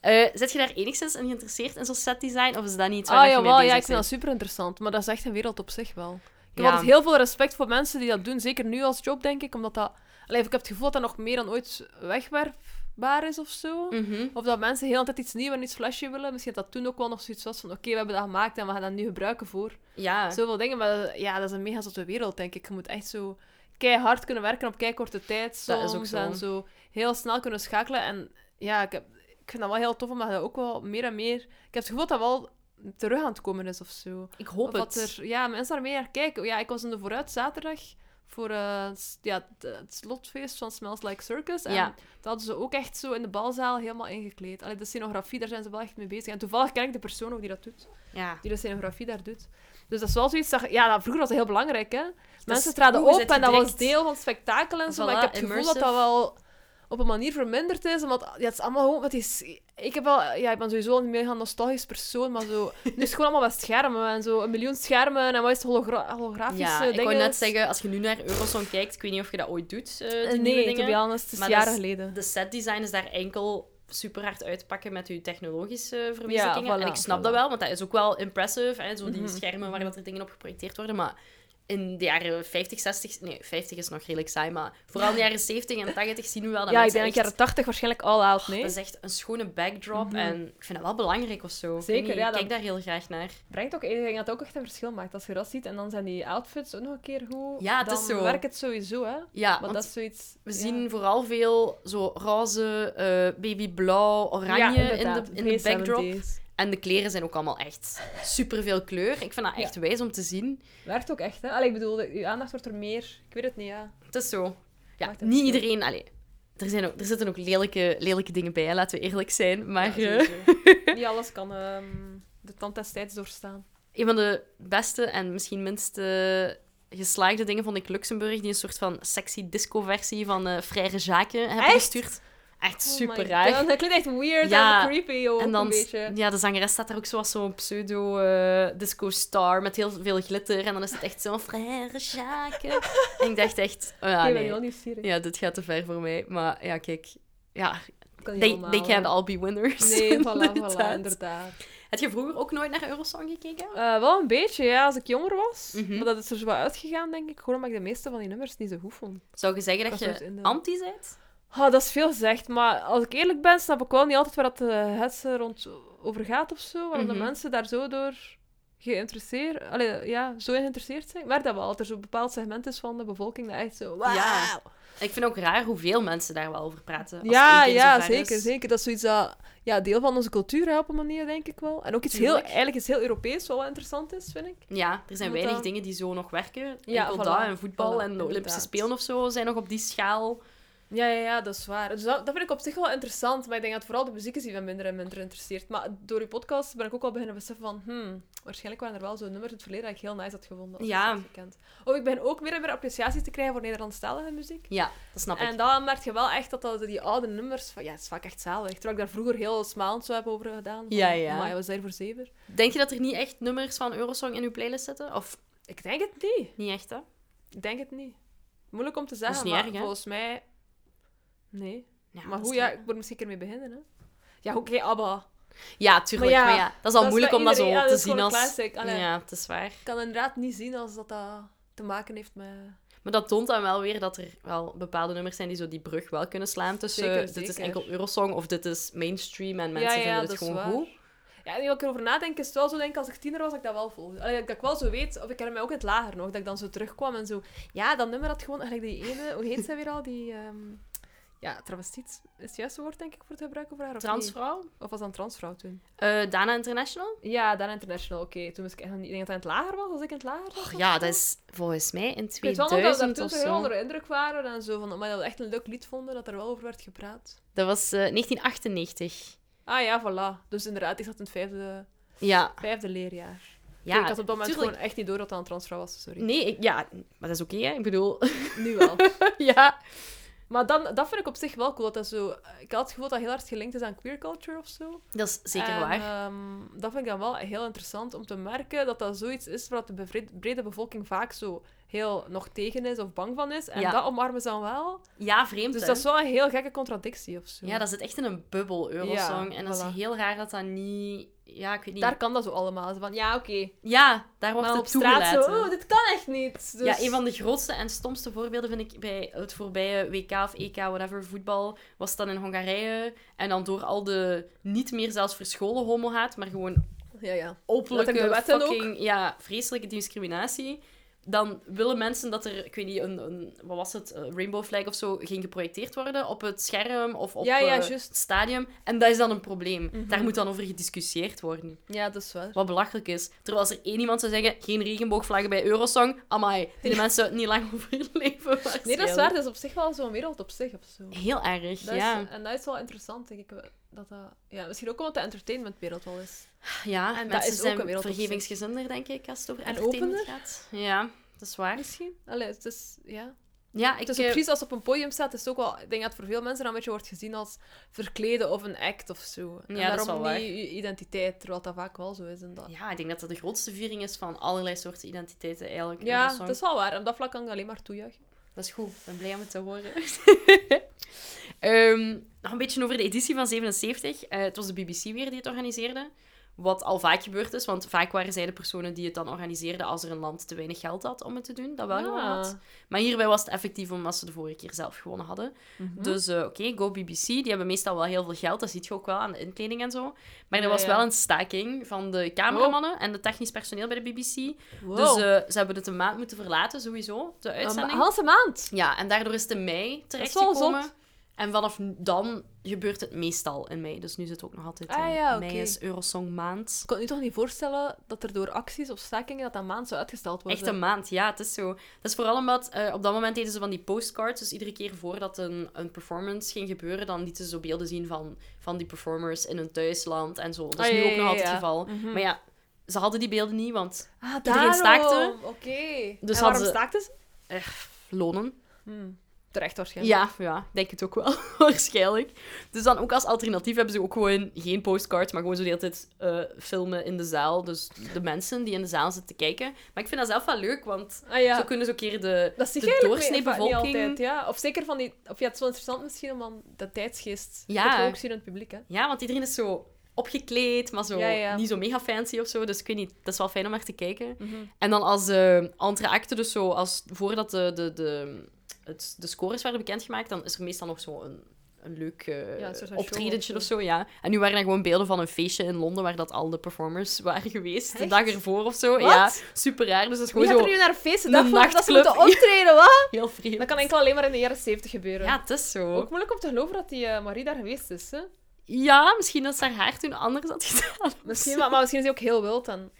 Speaker 1: Eh zit je daar enigszins in geïnteresseerd in zo'n setdesign? Of is dat niet waar
Speaker 2: Ah,
Speaker 1: dat je mee
Speaker 2: jawel, ja, ik
Speaker 1: bezig
Speaker 2: vind dat
Speaker 1: bent?
Speaker 2: super interessant. Maar dat is echt een wereld op zich wel. Ik heb
Speaker 1: Ja.
Speaker 2: altijd heel veel respect voor mensen die dat doen. Zeker nu als job, denk ik. Omdat dat... Allee, ik heb het gevoel dat dat nog meer dan ooit wegwerpbaar is of zo.
Speaker 1: Mhm.
Speaker 2: Of dat mensen heel de tijd iets nieuws en iets flesje willen. Misschien dat dat toen ook wel nog zoiets was van... Oké, we hebben dat gemaakt en we gaan dat nu gebruiken voor
Speaker 1: Ja.
Speaker 2: zoveel dingen. Maar ja, dat is een mega zotte wereld, denk ik. Je moet echt zo keihard kunnen werken op keikorte tijd soms.
Speaker 1: Dat is ook zo.
Speaker 2: En zo heel snel kunnen schakelen. En ja, ik, heb, ik vind dat wel heel tof, omdat dat ook wel meer en meer... Ik heb het gevoel dat dat wel terug aan het komen is of zo.
Speaker 1: ik hoop
Speaker 2: Of dat
Speaker 1: het.
Speaker 2: er, ja, mensen daar meer naar kijken. Ja, ik was in de vooruit zaterdag voor eh, s- ja, het- het slotfeest van Smells Like Circus. En
Speaker 1: Ja.
Speaker 2: dat hadden ze ook echt zo in de balzaal helemaal ingekleed. Allee, de scenografie, daar zijn ze wel echt mee bezig. En toevallig ken ik de persoon ook die dat doet.
Speaker 1: Ja.
Speaker 2: Die de scenografie daar doet. Dus dat is wel zoiets dat... Ja, dat, vroeger was dat heel belangrijk, hè. Mensen
Speaker 1: is-
Speaker 2: traden
Speaker 1: oeh, is
Speaker 2: op
Speaker 1: het
Speaker 2: en dat was
Speaker 1: direct-
Speaker 2: deel van het spektakel en zo. maar
Speaker 1: Voilà,
Speaker 2: ik heb het gevoel dat dat
Speaker 1: immersive.
Speaker 2: wel op een manier verminderd is. Want ja, het is allemaal gewoon... Het is, ik, heb wel, ja, ik ben sowieso een mega nostalgisch persoon, maar
Speaker 1: [laughs]
Speaker 2: zo... Nu is het gewoon allemaal wat schermen en zo. Een miljoen schermen en wat is het, hologra- holografische
Speaker 1: Ja,
Speaker 2: dingen.
Speaker 1: ik wou net zeggen, als je nu naar Eurosong kijkt, ik weet niet of je dat ooit doet, eh, die
Speaker 2: Eh,
Speaker 1: nieuwe
Speaker 2: Nee, to
Speaker 1: dingen.
Speaker 2: be honest, het is
Speaker 1: Maar dat
Speaker 2: jaren
Speaker 1: is-
Speaker 2: geleden.
Speaker 1: De setdesign is daar enkel super hard uitpakken met je technologische verwezenlijkingen.
Speaker 2: voilà,
Speaker 1: en ik snap
Speaker 2: voilà.
Speaker 1: dat wel, want dat is ook wel impressive. Hè? Zo die
Speaker 2: Mhm.
Speaker 1: schermen waar dat er dingen op geprojecteerd worden. Maar in de jaren 50, 60... Nee, 50 is nog redelijk saai, maar vooral in de jaren 70 en 80 zien we wel dat
Speaker 2: Ja, ik
Speaker 1: mensen
Speaker 2: denk
Speaker 1: echt...
Speaker 2: dat jaren 80 waarschijnlijk all out, nee?
Speaker 1: Dat is echt een schone backdrop en ik vind dat wel belangrijk of zo. Ik weet
Speaker 2: Zeker,
Speaker 1: niet,
Speaker 2: ja,
Speaker 1: Ik
Speaker 2: dat-
Speaker 1: kijk daar heel graag naar.
Speaker 2: brengt ook, ik denk dat het ook echt een verschil maakt. Als je dat ziet en dan zijn die outfits ook nog een keer goed,
Speaker 1: Ja, het
Speaker 2: dan
Speaker 1: is zo.
Speaker 2: werkt het sowieso, hè.
Speaker 1: Ja,
Speaker 2: Want
Speaker 1: want
Speaker 2: dat is zoiets...
Speaker 1: We
Speaker 2: ja.
Speaker 1: zien vooral veel zo roze, eh, babyblauw, oranje
Speaker 2: Ja,
Speaker 1: in
Speaker 2: inderdaad,
Speaker 1: de, in de
Speaker 2: vrij
Speaker 1: backdrop.
Speaker 2: 70s.
Speaker 1: En de kleren zijn ook allemaal echt superveel kleur. Ik vind dat echt wijs om te zien.
Speaker 2: Werkt ook echt, hè? Allee, ik bedoel, uw aandacht wordt er meer... Ik weet het niet, ja.
Speaker 1: Het is zo. Ja,
Speaker 2: Maakt een
Speaker 1: niet
Speaker 2: verschil.
Speaker 1: iedereen... Allee, er, zijn ook, er zitten ook lelijke, lelijke dingen bij, hè, laten we eerlijk zijn. Maar
Speaker 2: Ja,
Speaker 1: eh,
Speaker 2: sowieso. niet alles kan ehm, de tand des tijds doorstaan.
Speaker 1: een van de beste en misschien minst eh, geslaagde dingen vond ik Luxemburg, die een soort van sexy disco-versie van eh Frère Jacques hebben
Speaker 2: Echt?
Speaker 1: gestuurd. Echt
Speaker 2: Oh
Speaker 1: super
Speaker 2: my
Speaker 1: raar.
Speaker 2: God, Dat klinkt echt weird
Speaker 1: Ja,
Speaker 2: en creepy ook
Speaker 1: En
Speaker 2: een
Speaker 1: dan,
Speaker 2: beetje.
Speaker 1: ja, de zangeres staat daar ook zoals zo'n pseudo-disco-star met heel veel glitter. En dan is het echt zo'n frère Jacques. en ik dacht echt, oh ja,
Speaker 2: ik ben
Speaker 1: nee.
Speaker 2: wel nieuwsgierig.
Speaker 1: Ja, dit gaat te ver voor mij. Maar ja, kijk. Ja,
Speaker 2: Ik kan niet
Speaker 1: they,
Speaker 2: allemaal,
Speaker 1: they can't
Speaker 2: hè.
Speaker 1: all be winners. [laughs]
Speaker 2: Nee, voilà, voilà,
Speaker 1: Inderdaad.
Speaker 2: inderdaad.
Speaker 1: Heb je vroeger ook nooit naar Eurosong gekeken?
Speaker 2: Eh, wel een beetje, ja, als ik jonger was.
Speaker 1: Mhm.
Speaker 2: Maar dat is er zo wat uitgegaan, denk ik. Gewoon omdat ik de meeste van die nummers niet zo goed vond.
Speaker 1: Zou je zeggen dat
Speaker 2: Dat is nooit
Speaker 1: je
Speaker 2: in de-
Speaker 1: anti bent?
Speaker 2: Ah, dat is veel gezegd, maar als ik eerlijk ben, snap ik wel niet altijd waar dat de hetze rond over gaat of zo. Waarom
Speaker 1: Mhm.
Speaker 2: de mensen daar zo door geïnteresseerd, allee, ja, zo in geïnteresseerd zijn. Maar dat wel, dat er zo'n bepaald segment is van de bevolking dat echt zo... Wauw.
Speaker 1: Ja. Ik vind ook raar hoeveel mensen daar wel over praten. als
Speaker 2: Ja,
Speaker 1: het een keer
Speaker 2: ja,
Speaker 1: zover is.
Speaker 2: zeker, zeker. Dat is zoiets dat ja, deel van onze cultuur hè, op een manier, denk ik wel. En ook iets heel,
Speaker 1: Tuurlijk.
Speaker 2: eigenlijk iets heel Europees, wat wel interessant is, vind ik.
Speaker 1: Ja, er zijn
Speaker 2: Want
Speaker 1: weinig
Speaker 2: dan-
Speaker 1: dingen die zo nog werken.
Speaker 2: Ja,
Speaker 1: Enkel
Speaker 2: voilà,
Speaker 1: dat en voetbal
Speaker 2: voilà,
Speaker 1: en de Olympische
Speaker 2: inderdaad.
Speaker 1: Spelen of zo zijn nog op die schaal.
Speaker 2: Ja, ja, ja, dat is waar. Dus dat, dat vind ik op zich wel interessant, maar ik denk dat vooral de muziek is die me minder en minder interesseert. Maar door je podcast ben ik ook wel beginnen beseffen van, hmm, waarschijnlijk waren er wel zo'n nummers in het verleden dat ik heel nice had gevonden. als ik
Speaker 1: Ja.
Speaker 2: ze had gekend. Of Oh, ik ben ook meer en meer appreciaties te krijgen voor Nederlandstalige muziek.
Speaker 1: Ja, dat snap ik.
Speaker 2: En dan merk je wel echt dat, dat die oude nummers, van, ja, het is vaak echt zalig. Terwijl ik daar vroeger heel smalend zo heb over gedaan.
Speaker 1: Ja, ja.
Speaker 2: Maar was daar voor zever.
Speaker 1: Denk je dat er niet echt nummers van Eurosong in uw playlist zitten? Of
Speaker 2: Ik denk het niet.
Speaker 1: niet echt, hè?
Speaker 2: Ik denk het niet. Moeilijk om te zeggen,
Speaker 1: niet
Speaker 2: maar
Speaker 1: erg, hè?
Speaker 2: volgens mij... Nee.
Speaker 1: Ja,
Speaker 2: maar
Speaker 1: dat
Speaker 2: hoe,
Speaker 1: is
Speaker 2: ja,
Speaker 1: raar.
Speaker 2: ik moet er misschien een keer mee beginnen, hè. Ja, oké, Abba.
Speaker 1: Ja, tuurlijk.
Speaker 2: Maar
Speaker 1: Maar
Speaker 2: ja,
Speaker 1: ja, dat is al
Speaker 2: dat is
Speaker 1: moeilijk
Speaker 2: bij
Speaker 1: om dat zo
Speaker 2: iedereen- ja,
Speaker 1: te
Speaker 2: dat is
Speaker 1: zien
Speaker 2: gewoon
Speaker 1: als...
Speaker 2: een classic, allee.
Speaker 1: Ja, het is waar.
Speaker 2: Ik kan inderdaad niet zien als dat, dat te maken heeft met...
Speaker 1: Maar dat toont dan wel weer dat er wel bepaalde nummers zijn die zo die brug wel kunnen slaan tussen
Speaker 2: Zeker,
Speaker 1: dit is
Speaker 2: zeker.
Speaker 1: enkel Eurosong of dit is mainstream en mensen
Speaker 2: ja, ja,
Speaker 1: vinden
Speaker 2: dat
Speaker 1: het
Speaker 2: is
Speaker 1: gewoon
Speaker 2: waar.
Speaker 1: goed.
Speaker 2: Ja, nu dat ik erover nadenk, is het wel zo, denk ik, als ik tiener was, dat ik dat wel volgde. Allee, dat ik wel zo weet, of ik herinner mij ook in het lager nog, dat ik dan zo terugkwam en zo... Ja, dat nummer had gewoon, eigenlijk die ene... Hoe heet zij weer al? Die... ehm, ja, travestiet is het juiste woord, denk ik, voor het gebruiken voor haar, of niet?
Speaker 1: Transvrouw?
Speaker 2: Of was dat een transvrouw toen?
Speaker 1: Eh, Dana International?
Speaker 2: Ja, dan International, oké. Toen was ik echt nog niet... Ik denk dat dat in het lager was, als ik in het lager was.
Speaker 1: Och
Speaker 2: of
Speaker 1: ja,
Speaker 2: zo.
Speaker 1: dat is volgens mij in
Speaker 2: Oh, Ik weet wel nog dat we
Speaker 1: 2000
Speaker 2: daar
Speaker 1: of
Speaker 2: toen heel
Speaker 1: zo.
Speaker 2: onder de indruk waren en zo, van, maar dat we echt een leuk lied vonden, dat er wel over werd gepraat.
Speaker 1: Dat was eh, 1998.
Speaker 2: Ah ja, voilà. Dus inderdaad, ik zat in het vijfde,
Speaker 1: Ja,
Speaker 2: vijfde leerjaar.
Speaker 1: ja.
Speaker 2: ik had op dat moment
Speaker 1: tuurlijk.
Speaker 2: gewoon echt niet door dat dat een transvrouw was, sorry.
Speaker 1: Nee, ik- ja, maar dat is oké, hè? Ik bedoel,
Speaker 2: [laughs] Nu wel.
Speaker 1: ja.
Speaker 2: maar dan, dat vind ik op zich wel cool. Dat dat zo, ik had het gevoel dat dat heel hard gelinkt is aan queer culture of zo.
Speaker 1: Dat is zeker
Speaker 2: En,
Speaker 1: waar.
Speaker 2: ehm, dat vind ik dan wel heel interessant om te merken dat dat zoiets is waar de bevred- brede bevolking vaak zo heel nog tegen is of bang van is. En
Speaker 1: Ja.
Speaker 2: dat omarmen ze dan wel.
Speaker 1: ja, vreemd,
Speaker 2: Dus
Speaker 1: hè?
Speaker 2: dat is wel een heel gekke contradictie of zo.
Speaker 1: Ja, dat zit echt in een bubbel, Eurosong.
Speaker 2: Ja,
Speaker 1: en dat
Speaker 2: voilà.
Speaker 1: is heel raar dat dat niet... Ja, ik weet niet.
Speaker 2: Daar kan dat zo allemaal. Zo Van, ja, oké.
Speaker 1: Ja, daar wordt
Speaker 2: Maar op
Speaker 1: het
Speaker 2: straat
Speaker 1: toegelaten.
Speaker 2: zo, oh, dit kan echt niet. Dus...
Speaker 1: Ja, een van de grootste en stomste voorbeelden vind ik bij het voorbije WK of EK, whatever, voetbal, was het dan in Hongarije. En dan door al de niet meer zelfs verscholen homohaat, maar gewoon
Speaker 2: Ja, ja. Letterlijk
Speaker 1: openlijke
Speaker 2: de wetten ook.
Speaker 1: fucking, ja, vreselijke discriminatie. Dan willen mensen dat er, ik weet niet, een, een wat was het, eh, rainbow flag of zo, ging geprojecteerd worden op het scherm of op
Speaker 2: Ja, ja,
Speaker 1: eh,
Speaker 2: juist.
Speaker 1: het stadium. En dat is dan een probleem.
Speaker 2: Mhm.
Speaker 1: Daar moet dan over gediscussieerd worden.
Speaker 2: Ja, dat is waar.
Speaker 1: Wat belachelijk is. Terwijl als er één iemand zou zeggen, geen regenboogvlaggen bij Eurosong, amai,
Speaker 2: [laughs]
Speaker 1: die mensen het niet lang overleven.
Speaker 2: Nee, dat is waar. Dat is op zich wel zo'n wereld op zich of zo.
Speaker 1: Heel erg,
Speaker 2: Dat
Speaker 1: ja.
Speaker 2: is, en dat is wel interessant, denk ik. Dat dat, ja, misschien ook omdat de entertainmentwereld wel is.
Speaker 1: ja.
Speaker 2: en dat
Speaker 1: mensen
Speaker 2: is ook
Speaker 1: zijn
Speaker 2: een wereld op zich.
Speaker 1: vergevingsgezinder, denk ik, als het over
Speaker 2: En
Speaker 1: entertainment
Speaker 2: opener.
Speaker 1: gaat. Ja, dat is waar.
Speaker 2: Misschien. Allee, het is, ja.
Speaker 1: Ja, ik...
Speaker 2: het is
Speaker 1: eh,
Speaker 2: ook precies als het op een podium staat. Het is ook wel, ik denk dat het voor veel mensen dan een beetje wordt gezien als verkleden of een act of zo. En
Speaker 1: Ja, dat is
Speaker 2: daarom
Speaker 1: wel
Speaker 2: niet je identiteit, terwijl dat vaak wel zo is. En dat.
Speaker 1: Ja, ik denk dat dat de grootste viering is van allerlei soorten identiteiten eigenlijk. in
Speaker 2: Ja,
Speaker 1: een song.
Speaker 2: dat is wel waar. En op dat vlak kan ik alleen maar toejuichen.
Speaker 1: Dat is goed. Ik ben blij om het te
Speaker 2: [laughs]
Speaker 1: horen. Ehm, nog een beetje over de editie van 77. Eh, het was de BBC weer die het organiseerde. Wat al vaak gebeurd is, want vaak waren zij de personen die het dan organiseerden als er een land te weinig geld had om het te doen. Dat wel gewoon
Speaker 2: Ah.
Speaker 1: had. Maar hierbij was het effectief omdat ze de vorige keer zelf gewonnen hadden.
Speaker 2: Mhm.
Speaker 1: Dus eh, oké, Go BBC, die hebben meestal wel heel veel geld. Dat zie je ook wel aan de inkleding en zo. Maar er
Speaker 2: Ja,
Speaker 1: was
Speaker 2: ja. Oh.
Speaker 1: wel een staking van de cameramannen en de technisch personeel bij de BBC.
Speaker 2: Wow. Ah,
Speaker 1: Dus eh, ze hebben het een maand moeten verlaten, sowieso, de
Speaker 2: Een ma-
Speaker 1: uitzending.
Speaker 2: halve maand. Dus
Speaker 1: Ja, en daardoor is het in mei
Speaker 2: wel
Speaker 1: terechtgekomen.
Speaker 2: zot.
Speaker 1: En vanaf dan gebeurt het meestal in mei. Dus nu zit het ook nog altijd in
Speaker 2: Ah, ja, oké.
Speaker 1: mei is Eurosong maand.
Speaker 2: Ik kon het nu toch niet voorstellen dat er door acties of stakingen dat dat maand zou uitgesteld worden.
Speaker 1: Echt een maand, ja, het is zo. Dat is vooral omdat eh, op dat moment deden ze van die postcards. Dus iedere keer voordat een, een performance ging gebeuren, dan lieten ze zo beelden zien van, van die performers in hun thuisland en zo. Dat is
Speaker 2: Ah,
Speaker 1: nu
Speaker 2: ja,
Speaker 1: ook nog
Speaker 2: ja,
Speaker 1: altijd
Speaker 2: ja.
Speaker 1: het geval.
Speaker 2: Mhm.
Speaker 1: Maar ja, Ze hadden die beelden niet, want
Speaker 2: Ah,
Speaker 1: Iedereen
Speaker 2: daarom.
Speaker 1: staakte.
Speaker 2: Oké.
Speaker 1: Dus
Speaker 2: Dus
Speaker 1: had
Speaker 2: waarom
Speaker 1: ze-
Speaker 2: staakten ze?
Speaker 1: eh, lonen.
Speaker 2: Hmm. Terecht waarschijnlijk.
Speaker 1: Ja, ja, denk het ook wel, [laughs] waarschijnlijk. Dus dan ook als alternatief hebben ze ook gewoon geen postcards, maar gewoon zo de hele tijd eh, filmen in de zaal. Dus de mensen die in de zaal zitten te kijken. Maar ik vind dat zelf wel leuk, want
Speaker 2: Ah, ja.
Speaker 1: zo kunnen ze ook keer de,
Speaker 2: Dat zie ik
Speaker 1: de
Speaker 2: eigenlijk
Speaker 1: doorsnee
Speaker 2: niet- niet
Speaker 1: bevolking.
Speaker 2: altijd, ja. Of zeker van die... Of ja, het is wel interessant misschien om dan dat tijdsgeest...
Speaker 1: Ja.
Speaker 2: Dat we ook zien in het publiek, hè.
Speaker 1: Ja, want iedereen is zo opgekleed, maar zo
Speaker 2: Ja, ja.
Speaker 1: niet zo mega fancy of zo. Dus ik weet niet, dat is wel fijn om naar te kijken. En dan als eh andere acte, dus zo als voordat de, de, de, het, de scores werden bekendgemaakt, dan is er meestal nog zo een, een leuk eh,
Speaker 2: Ja, een soort van
Speaker 1: optredentje
Speaker 2: show
Speaker 1: of
Speaker 2: of
Speaker 1: zo. Ja. En nu waren er gewoon beelden van een feestje in Londen waar dat al de performers waren geweest. De
Speaker 2: Echt?
Speaker 1: dag ervoor of zo.
Speaker 2: Wat?
Speaker 1: Ja, super raar. Dus dat is
Speaker 2: Wie
Speaker 1: gewoon
Speaker 2: gaat
Speaker 1: zo
Speaker 2: er nu naar een feest de
Speaker 1: een
Speaker 2: dag voor dat ze
Speaker 1: nachtclub.
Speaker 2: moeten optreden,
Speaker 1: [laughs]
Speaker 2: wat?
Speaker 1: heel vreemd.
Speaker 2: Dat kan enkel alleen maar in de jaren 70 gebeuren.
Speaker 1: Ja, het is zo.
Speaker 2: Ook moeilijk om te geloven dat die eh, Marie daar geweest is, hè.
Speaker 1: Ja, misschien dat ze haar haar toen anders had gedaan. of
Speaker 2: Misschien,
Speaker 1: zo.
Speaker 2: maar, maar misschien is hij ook heel wild dan.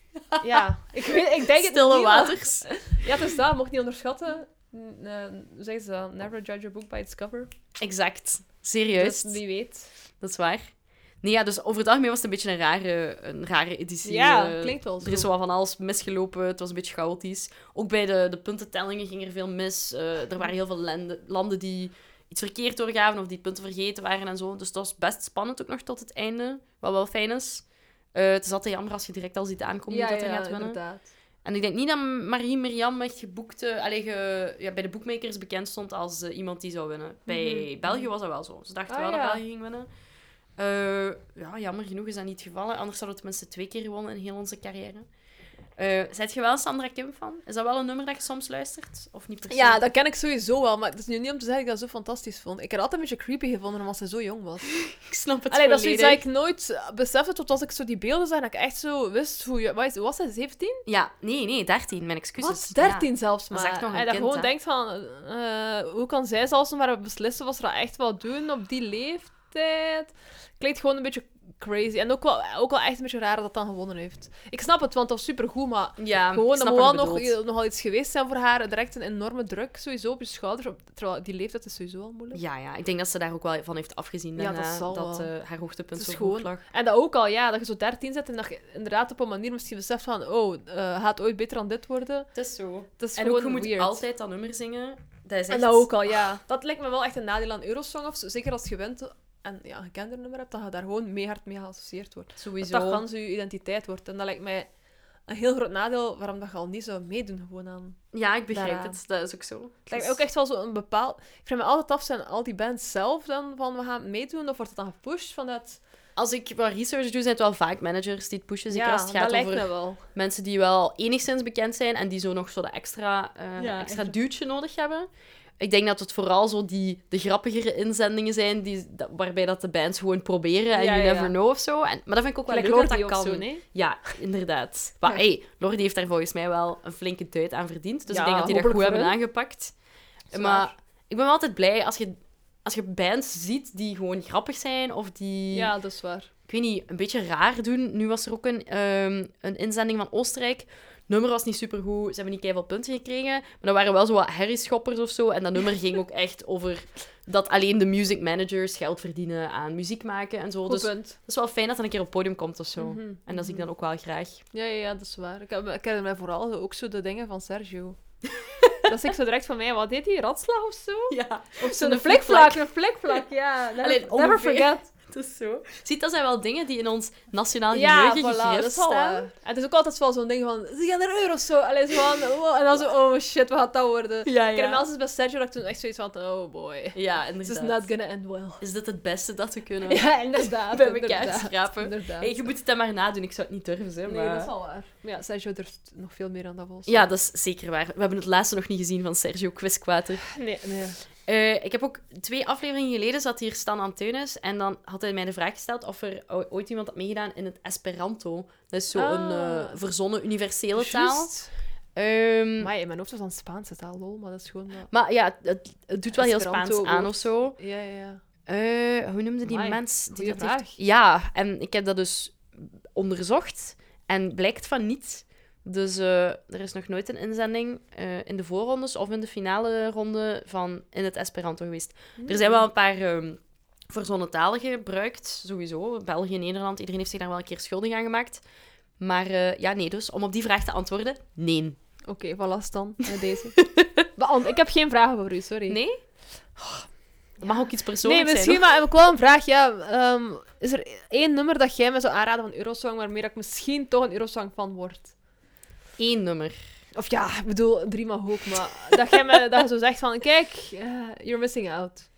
Speaker 2: Ja, ik, weet, ik denk het
Speaker 1: Stille
Speaker 2: niet, maar-
Speaker 1: waters.
Speaker 2: Ja, dus dat, mocht niet onderschatten. N- eh, Hoe zeggen ze dat? Never judge a book by its cover.
Speaker 1: Exact. Serieus.
Speaker 2: Dus wie weet.
Speaker 1: Dat is waar. Nee, ja, dus over het algemeen was het een beetje een rare, een rare editie.
Speaker 2: Ja,
Speaker 1: Eh,
Speaker 2: klinkt wel zo.
Speaker 1: Er is zo wat van alles misgelopen. Het was een beetje chaotisch. Ook bij de, de puntentellingen ging er veel mis. Eh, er waren heel veel landen, landen die iets verkeerd doorgaven of die punten vergeten waren en zo. Dus dat was best spannend ook nog tot het einde. Wat wel fijn is. Eh, het is altijd jammer als je direct al ziet aankomen
Speaker 2: ja,
Speaker 1: dat
Speaker 2: ja,
Speaker 1: er gaat winnen.
Speaker 2: inderdaad.
Speaker 1: En ik denk niet dat Marie Miriam echt geboekt, eh, allee, ge- ja, bij de boekmakers bekend stond als eh, iemand die zou winnen. Bij België was dat wel zo. Ze dachten
Speaker 2: Mhm. Ah,
Speaker 1: wel dat
Speaker 2: ja.
Speaker 1: België ging winnen. Eh, ja, jammer genoeg is dat niet het geval. hè. Anders zouden we tenminste twee keer gewonnen in heel onze carrière. Eh Zijt je wel een Sandra Kim van? Is dat wel een nummer dat je soms luistert? Of niet per se?
Speaker 2: Ja, dat ken ik sowieso wel, maar het is nu niet om te zeggen dat ik dat zo fantastisch vond. Ik had altijd een beetje creepy gevonden omdat ze zo jong was.
Speaker 1: ik snap [laughs] het
Speaker 2: Allee, dat is iets
Speaker 1: volledig.
Speaker 2: dat ik nooit eh, besefte totdat ik zo die beelden zag en dat ik echt zo wist hoe... je- Wat is- hoe was zij, 17?
Speaker 1: Ja, nee, nee, 13, mijn excuses.
Speaker 2: Wat? 13 zelfs
Speaker 1: Dat
Speaker 2: maar.
Speaker 1: is echt nog een
Speaker 2: en dat
Speaker 1: kind,
Speaker 2: gewoon
Speaker 1: hè.
Speaker 2: denkt van, eh, hoe kan zij zelfs nog maar beslissen wat ze dat echt wil doen op die leeftijd? Klinkt gewoon een beetje crazy. En ook wel, ook wel echt een beetje raar dat dat dan gewonnen heeft. Ik snap het, want dat was supergoed, maar
Speaker 1: Ja, ja
Speaker 2: gewoon,
Speaker 1: ik
Speaker 2: dat
Speaker 1: snap
Speaker 2: moet wel
Speaker 1: wat
Speaker 2: nog,
Speaker 1: je bedoelt.
Speaker 2: nogal iets geweest zijn voor haar. Direct een enorme druk sowieso op je schouders. op- Terwijl die leeftijd is sowieso al moeilijk.
Speaker 1: Ja, ja, ik denk dat ze daar ook wel van heeft afgezien.
Speaker 2: Ja,
Speaker 1: daarna,
Speaker 2: dat zal
Speaker 1: dat
Speaker 2: wel.
Speaker 1: eh, haar hoogtepunt
Speaker 2: Het
Speaker 1: zo
Speaker 2: is
Speaker 1: hoog
Speaker 2: gewoon-
Speaker 1: lag.
Speaker 2: En dat ook al, ja, dat je zo 13 zit en dat je inderdaad op een manier misschien beseft van, oh, eh, gaat het ooit beter dan dit worden?
Speaker 1: Het is zo.
Speaker 2: Dat is
Speaker 1: En ook,
Speaker 2: gewoon
Speaker 1: je moet
Speaker 2: weird.
Speaker 1: altijd dat nummer zingen. Dat is echt...
Speaker 2: En dat ook al, ja. Dat lijkt me wel echt een nadeel aan Eurosong. Of zo. zeker als je wint en ja, een gekendernummer hebt, dat je daar gewoon mee hard mee geassocieerd wordt. Dat
Speaker 1: Sowieso.
Speaker 2: dat gans je identiteit wordt. En dat lijkt mij een heel groot nadeel waarom dat je al niet zou meedoen gewoon aan.
Speaker 1: Ja, ik begrijp
Speaker 2: Daaraan.
Speaker 1: het. Dat is ook zo. Dus
Speaker 2: Het lijkt mij ook echt wel zo'n bepaald... Ik vraag me altijd af, zijn al die bands zelf dan van we gaan meedoen? Of wordt het dan gepusht vanuit...
Speaker 1: Als ik wat research doe, zijn het wel vaak managers Dus die het pushen. Zeker
Speaker 2: ja,
Speaker 1: als het
Speaker 2: dat
Speaker 1: gaat
Speaker 2: lijkt
Speaker 1: over
Speaker 2: me wel.
Speaker 1: mensen die wel enigszins bekend zijn en die zo nog zo dat extra, eh,
Speaker 2: Ja,
Speaker 1: extra
Speaker 2: echt.
Speaker 1: duwtje nodig hebben. Ik denk dat het vooral zo die, de grappigere inzendingen zijn, die, dat- waarbij dat de bands gewoon proberen en
Speaker 2: Ja,
Speaker 1: you
Speaker 2: ja,
Speaker 1: never
Speaker 2: ja.
Speaker 1: know of zo. En, maar dat vind ik ook wel
Speaker 2: Gelijk
Speaker 1: leuk dat
Speaker 2: Lordi
Speaker 1: dat kan.
Speaker 2: of zo, nee?
Speaker 1: Ja, inderdaad. Maar
Speaker 2: Ja.
Speaker 1: hey, Lordi heeft daar volgens mij wel een flinke duit aan verdiend. Dus
Speaker 2: Ja,
Speaker 1: ik denk dat die dat goed
Speaker 2: hopelijk voor
Speaker 1: hebben aangepakt.
Speaker 2: Zwaar.
Speaker 1: Maar ik ben wel altijd blij als je, als je bands ziet die gewoon grappig zijn of die
Speaker 2: Ja, dat is waar.
Speaker 1: ik weet niet, een beetje raar doen. Nu was er ook een, ehm, een inzending van Oostenrijk. Het nummer was niet supergoed, ze hebben niet keihard punten gekregen. Maar er waren wel zo wat herrieschoppers of zo. En dat nummer ging ook echt over dat alleen de music managers geld verdienen aan muziek maken en zo.
Speaker 2: Goed
Speaker 1: Dus het
Speaker 2: punt.
Speaker 1: is wel fijn dat dat een keer op het podium komt of zo.
Speaker 2: Mhm,
Speaker 1: En dat zie ik dan ook wel graag.
Speaker 2: Ja, ja, ja, dat is waar. Ik heb- ik herinner mij vooral ook zo de dingen van
Speaker 1: [laughs]
Speaker 2: Sergio. dat is ik zo direct van mij, wat deed hij? Ratslag of zo?
Speaker 1: [laughs] Ja, zo'n
Speaker 2: Of zo'n
Speaker 1: flikvlak.
Speaker 2: flikvlak, een flikvlak, ja.
Speaker 1: [laughs]
Speaker 2: Never,
Speaker 1: Allee,
Speaker 2: never
Speaker 1: ongeveer.
Speaker 2: forget.
Speaker 1: het is zo. Ziet, dat zijn wel dingen die in ons nationaal
Speaker 2: Ja,
Speaker 1: geheugen
Speaker 2: voilà, dat
Speaker 1: gegrift
Speaker 2: is wel waar.
Speaker 1: staan.
Speaker 2: En het is ook altijd wel zo'n ding van, ze gaan er euro's zo. Allee, zo van, wow, en dan zo, oh shit, wat gaat dat worden? Ik
Speaker 1: Ja,
Speaker 2: herinner me
Speaker 1: ja.
Speaker 2: als het bij Sergio dat ik toen echt zoiets van, oh boy.
Speaker 1: Ja,
Speaker 2: This is
Speaker 1: inderdaad.
Speaker 2: not gonna end well.
Speaker 1: Is dit het beste dat we kunnen
Speaker 2: [laughs] Ja, inderdaad.
Speaker 1: bij elkaar
Speaker 2: inderdaad.
Speaker 1: schrapen?
Speaker 2: Inderdaad.
Speaker 1: Hey, je moet het dan maar nadoen, ik zou het niet durven, hè,
Speaker 2: Nee,
Speaker 1: maar...
Speaker 2: dat is wel waar. Maar ja, Sergio durft nog veel meer aan dat volgens
Speaker 1: Ja, dat is zeker waar. We hebben het laatste nog niet gezien van Sergio Quiskwater.
Speaker 2: Nee, nee.
Speaker 1: Eh, ik heb ook twee afleveringen geleden zat hier Stan Antunes en dan had hij mij de vraag gesteld of er o- ooit iemand had meegedaan in het Esperanto. Dat is zo'n
Speaker 2: Ah.
Speaker 1: eh, verzonnen universele taal.
Speaker 2: Juist.
Speaker 1: Ehm,
Speaker 2: Maar in mijn hoofd was dan Spaanse taal, lol, maar dat is gewoon... wel-
Speaker 1: maar ja, het- het, het doet wel heel
Speaker 2: Esperanto
Speaker 1: Spaans aan
Speaker 2: woord.
Speaker 1: of zo.
Speaker 2: Ja, ja, ja.
Speaker 1: Eh, hoe noemde die
Speaker 2: Amai,
Speaker 1: mens? Die
Speaker 2: goeie
Speaker 1: dat heeft-
Speaker 2: vraag.
Speaker 1: Ja, en ik heb dat dus onderzocht en blijkt van niet. Dus eh, er is nog nooit een inzending eh, in de voorrondes of in de finale ronde van in het Esperanto geweest. Er zijn wel een paar ehm verzonnen talen gebruikt, sowieso. België, Nederland, iedereen heeft zich daar wel een keer schuldig aan gemaakt. Maar eh, ja, nee, dus om op die vraag te antwoorden, nee.
Speaker 2: Oké, voilà, Stan. Met deze. [laughs] Beant- ik heb geen vragen voor u, sorry.
Speaker 1: Nee? Dat mag ook iets
Speaker 2: Nee,
Speaker 1: persoonlijks
Speaker 2: misschien,
Speaker 1: zijn.
Speaker 2: maar heb ik wel een vraag. Ja, ehm, is er één nummer dat jij me zou aanraden van Eurosong, waarmee dat ik misschien toch een Eurosong fan word?
Speaker 1: hoor. Eén nummer.
Speaker 2: Of ja, ik bedoel, drie mag
Speaker 1: [laughs]
Speaker 2: ook, maar dat jij me dat je zo zegt van, kijk, eh, you're missing out.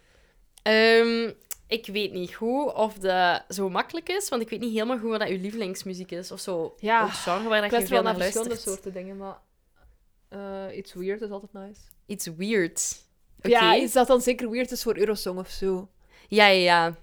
Speaker 1: Ehm, ik weet niet goed of dat zo makkelijk is, want ik weet niet helemaal goed wat dat uw lievelingsmuziek is of zo.
Speaker 2: Ja,
Speaker 1: Een genre waar dat
Speaker 2: Ik
Speaker 1: je
Speaker 2: luister
Speaker 1: veel
Speaker 2: wel naar
Speaker 1: naar
Speaker 2: verschillende
Speaker 1: luistert.
Speaker 2: soorten dingen, maar eh, iets weird is altijd nice.
Speaker 1: Iets weird. Oké.
Speaker 2: Ja, is dat dan zeker weird is voor Eurosong of zo?
Speaker 1: Ja, ja, ja.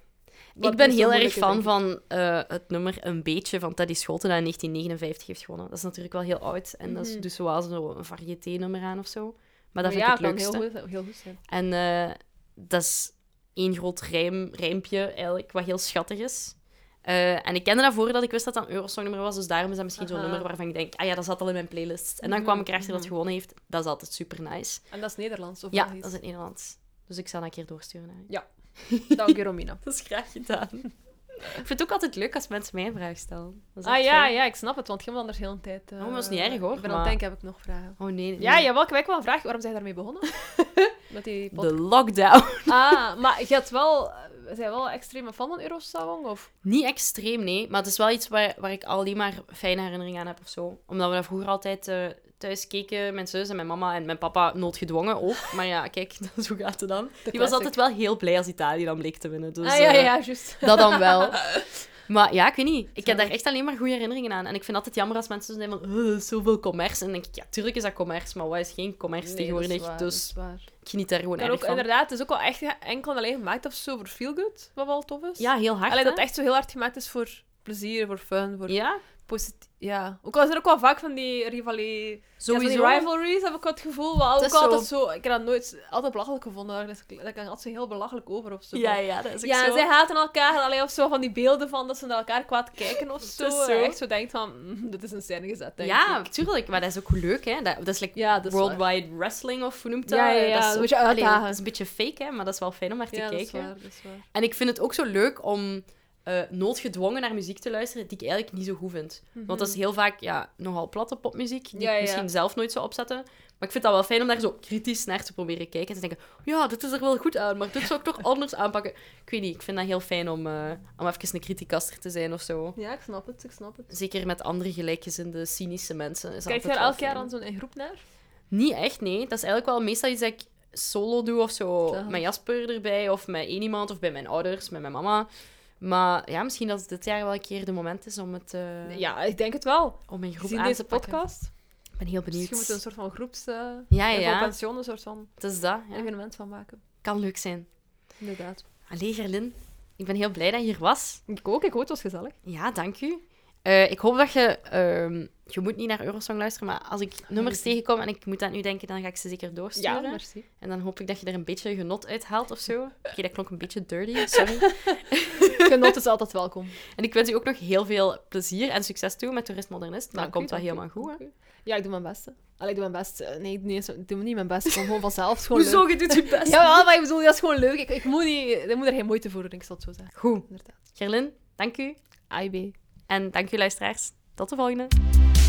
Speaker 2: Wat
Speaker 1: ik ben
Speaker 2: niet zo
Speaker 1: heel erg
Speaker 2: moeilijk is,
Speaker 1: fan
Speaker 2: denk
Speaker 1: van eh, het nummer Een Beetje van Teddy Scholten dat in 1959 heeft gewonnen. Dat is natuurlijk wel heel oud. En dat is
Speaker 2: Mhm.
Speaker 1: dus wel zo'n variété-nummer aan of zo. Maar dat
Speaker 2: Maar
Speaker 1: vind
Speaker 2: ja,
Speaker 1: ik het
Speaker 2: kan
Speaker 1: leukste.
Speaker 2: heel goed, heel goed zijn.
Speaker 1: En eh, dat is één groot rijm, rijmpje eigenlijk, wat heel schattig is. Eh, en ik kende dat voordat ik wist dat dat een Eurosong-nummer was. Dus daarom is dat misschien zo'n
Speaker 2: Aha.
Speaker 1: nummer waarvan ik denk... Ah ja, dat zat al in mijn playlist. En dan
Speaker 2: Mhm,
Speaker 1: kwam ik erachter dat het
Speaker 2: mhm.
Speaker 1: gewonnen heeft. Dat is altijd super nice.
Speaker 2: En dat is Nederlands, of
Speaker 1: Ja,
Speaker 2: Belgisch?
Speaker 1: dat is in het Nederlands. Dus ik zal dat een keer doorsturen. hè.
Speaker 2: [laughs] Dank je, Romina.
Speaker 1: Dat is graag gedaan. ik vind het ook altijd leuk als mensen mij een vraag stellen. Dat is
Speaker 2: Ah
Speaker 1: echt
Speaker 2: ja,
Speaker 1: fijn.
Speaker 2: ja, ik snap het, want je hebt anders heel een tijd... eh,
Speaker 1: Oh, maar dat is niet erg, hoor,
Speaker 2: Ik ben aan het
Speaker 1: maar-
Speaker 2: denken, heb ik nog vragen?
Speaker 1: Oh nee.
Speaker 2: Ja,
Speaker 1: nee.
Speaker 2: jawel, ik heb wel een vraag. Waarom zijn je daarmee
Speaker 1: [laughs]
Speaker 2: begonnen? Met die podcast.
Speaker 1: De lockdown.
Speaker 2: Ah, maar je had wel... eh, Zijn jij wel extreme fan van Eurosong, of...
Speaker 1: niet extreem, nee. Maar het is wel iets waar, waar ik alleen maar fijne herinneringen aan heb of zo. Omdat we dat vroeger altijd eh, thuis keken. Mijn zus en mijn mama en mijn papa noodgedwongen ook. Maar ja, kijk, [laughs] zo gaat het dan. Die was altijd wel heel blij als Italië dan bleek te winnen. Dus,
Speaker 2: ah ja,
Speaker 1: eh,
Speaker 2: ja, juist.
Speaker 1: [laughs] Dat dan wel.
Speaker 2: [laughs]
Speaker 1: Maar ja, ik weet niet. Ik heb
Speaker 2: Zalig.
Speaker 1: daar echt alleen maar goede herinneringen aan. En ik vind altijd jammer als mensen zo zijn van "Eh, zoveel commerce. En dan denk ik, ja, tuurlijk is dat commerce, maar wat is geen commerce tegenwoordig? dus ik geniet daar gewoon
Speaker 2: En
Speaker 1: erg
Speaker 2: ook,
Speaker 1: van.
Speaker 2: inderdaad, het is ook wel echt enkel en alleen gemaakt of zo voor feelgood, wat wel tof is.
Speaker 1: Ja, heel hard.
Speaker 2: Alleen dat
Speaker 1: hè?
Speaker 2: het echt zo heel hard gemaakt is voor plezier, voor fun, voor
Speaker 1: Ja,
Speaker 2: positief. Ja. Ook al is er ook wel vaak van die rivali... Ja,
Speaker 1: sowieso.
Speaker 2: van die rivalries heb ik wel het gevoel. Maar
Speaker 1: Het
Speaker 2: ook
Speaker 1: is
Speaker 2: altijd zo... Ik heb dat nooit altijd belachelijk gevonden. Dat kan altijd zo heel belachelijk over of zo.
Speaker 1: Ja, ja, dat is ook
Speaker 2: Ja,
Speaker 1: zo.
Speaker 2: zij haten elkaar. Allee, of zo van die beelden van dat ze naar elkaar kwaad kijken [laughs] of zo.
Speaker 1: is
Speaker 2: Dat
Speaker 1: zo.
Speaker 2: je echt zo denkt van... "Mm, dit is een scène gezet, denk
Speaker 1: Ja,
Speaker 2: ik.
Speaker 1: tuurlijk. Maar dat is ook leuk, hè. Dat, dat is like
Speaker 2: Ja, dat is
Speaker 1: World
Speaker 2: waar.
Speaker 1: Wide Wrestling, of hoe noemt dat?
Speaker 2: Ja, ja, ja,
Speaker 1: Dat is,
Speaker 2: dat
Speaker 1: zo-
Speaker 2: moet je
Speaker 1: Allee,
Speaker 2: uitdagen.
Speaker 1: dat is een beetje fake, hè. Maar dat is wel fijn om naar te
Speaker 2: Ja, dat
Speaker 1: kijken.
Speaker 2: is waar, dat is waar.
Speaker 1: En ik vind het ook zo leuk om eh, noodgedwongen naar muziek te luisteren die ik eigenlijk niet zo goed vind. Want dat is heel vaak ja, nogal platte popmuziek, die
Speaker 2: Mhm. Ja,
Speaker 1: ik
Speaker 2: ja.
Speaker 1: misschien zelf nooit zou opzetten. Maar ik vind dat wel fijn om daar zo kritisch naar te proberen kijken. En te denken, ja, dit is er wel goed aan, maar dit zou ik
Speaker 2: [laughs]
Speaker 1: toch anders aanpakken. Ik weet niet, ik vind dat heel fijn om, eh, om even een criticaster te zijn of zo.
Speaker 2: Ja, ik snap het, ik snap het.
Speaker 1: Zeker met andere gelijkgezinde, cynische mensen. Is
Speaker 2: Kijk je
Speaker 1: altijd
Speaker 2: daar
Speaker 1: wel
Speaker 2: elk jaar
Speaker 1: fijn.
Speaker 2: aan zo'n in groep naar?
Speaker 1: Niet echt, nee. Dat is eigenlijk wel meestal iets dat ik solo doe of zo.
Speaker 2: Ja.
Speaker 1: Met Jasper erbij, of met één iemand, of bij mijn ouders, met mijn mama. Maar ja, misschien dat het dit jaar wel een keer de moment is om het eh,
Speaker 2: Ja, ik denk het wel.
Speaker 1: om mijn groep
Speaker 2: Zien
Speaker 1: aan
Speaker 2: deze
Speaker 1: te pakken.
Speaker 2: podcast?
Speaker 1: Ik ben heel benieuwd.
Speaker 2: Misschien moeten we een soort van groeps... eh,
Speaker 1: Ja,
Speaker 2: Ja,
Speaker 1: ja,
Speaker 2: Voor pensioen een soort van
Speaker 1: het is dat. Ja.
Speaker 2: evenement van maken.
Speaker 1: Kan leuk zijn.
Speaker 2: Inderdaad.
Speaker 1: Allee, Gerlin. Ik ben heel blij dat je hier was.
Speaker 2: Ik ook, ik hoor het was gezellig.
Speaker 1: Ja, dank u. Eh, ik hoop dat je... ehm, je moet niet naar Eurosong luisteren, maar als ik nummers tegenkom en ik moet dat nu denken, dan ga ik ze zeker doorsturen.
Speaker 2: merci.
Speaker 1: En dan hoop ik dat je er een beetje genot uit haalt of
Speaker 2: [laughs]
Speaker 1: zo. Oké, dat klonk een beetje dirty, sorry.
Speaker 2: Genot is altijd [laughs] welkom.
Speaker 1: En ik wens u ook nog heel veel plezier en succes toe met Toerist Modernist. Maar
Speaker 2: Dank
Speaker 1: dat
Speaker 2: u,
Speaker 1: komt wel
Speaker 2: dank u,
Speaker 1: helemaal goed, hè?
Speaker 2: dank u. Ja, ik doe mijn best. hè. Allee, ik doe mijn best. Eh, Nee, ik- nee, zo- ik doe niet mijn best. Ik kom gewoon vanzelf. Het is Gewoon
Speaker 1: je doet je
Speaker 2: Leuk.
Speaker 1: best?
Speaker 2: [laughs] Ja, maar ik bedoel, dat is gewoon leuk. Ik, ik, moet niet, ik moet er geen moeite voor doen, ik zal het zo zeggen.
Speaker 1: Goed.
Speaker 2: Inderdaad.
Speaker 1: Gerlin, dank u.
Speaker 2: AIB.
Speaker 1: En dank u, luisteraars. Tot de volgende.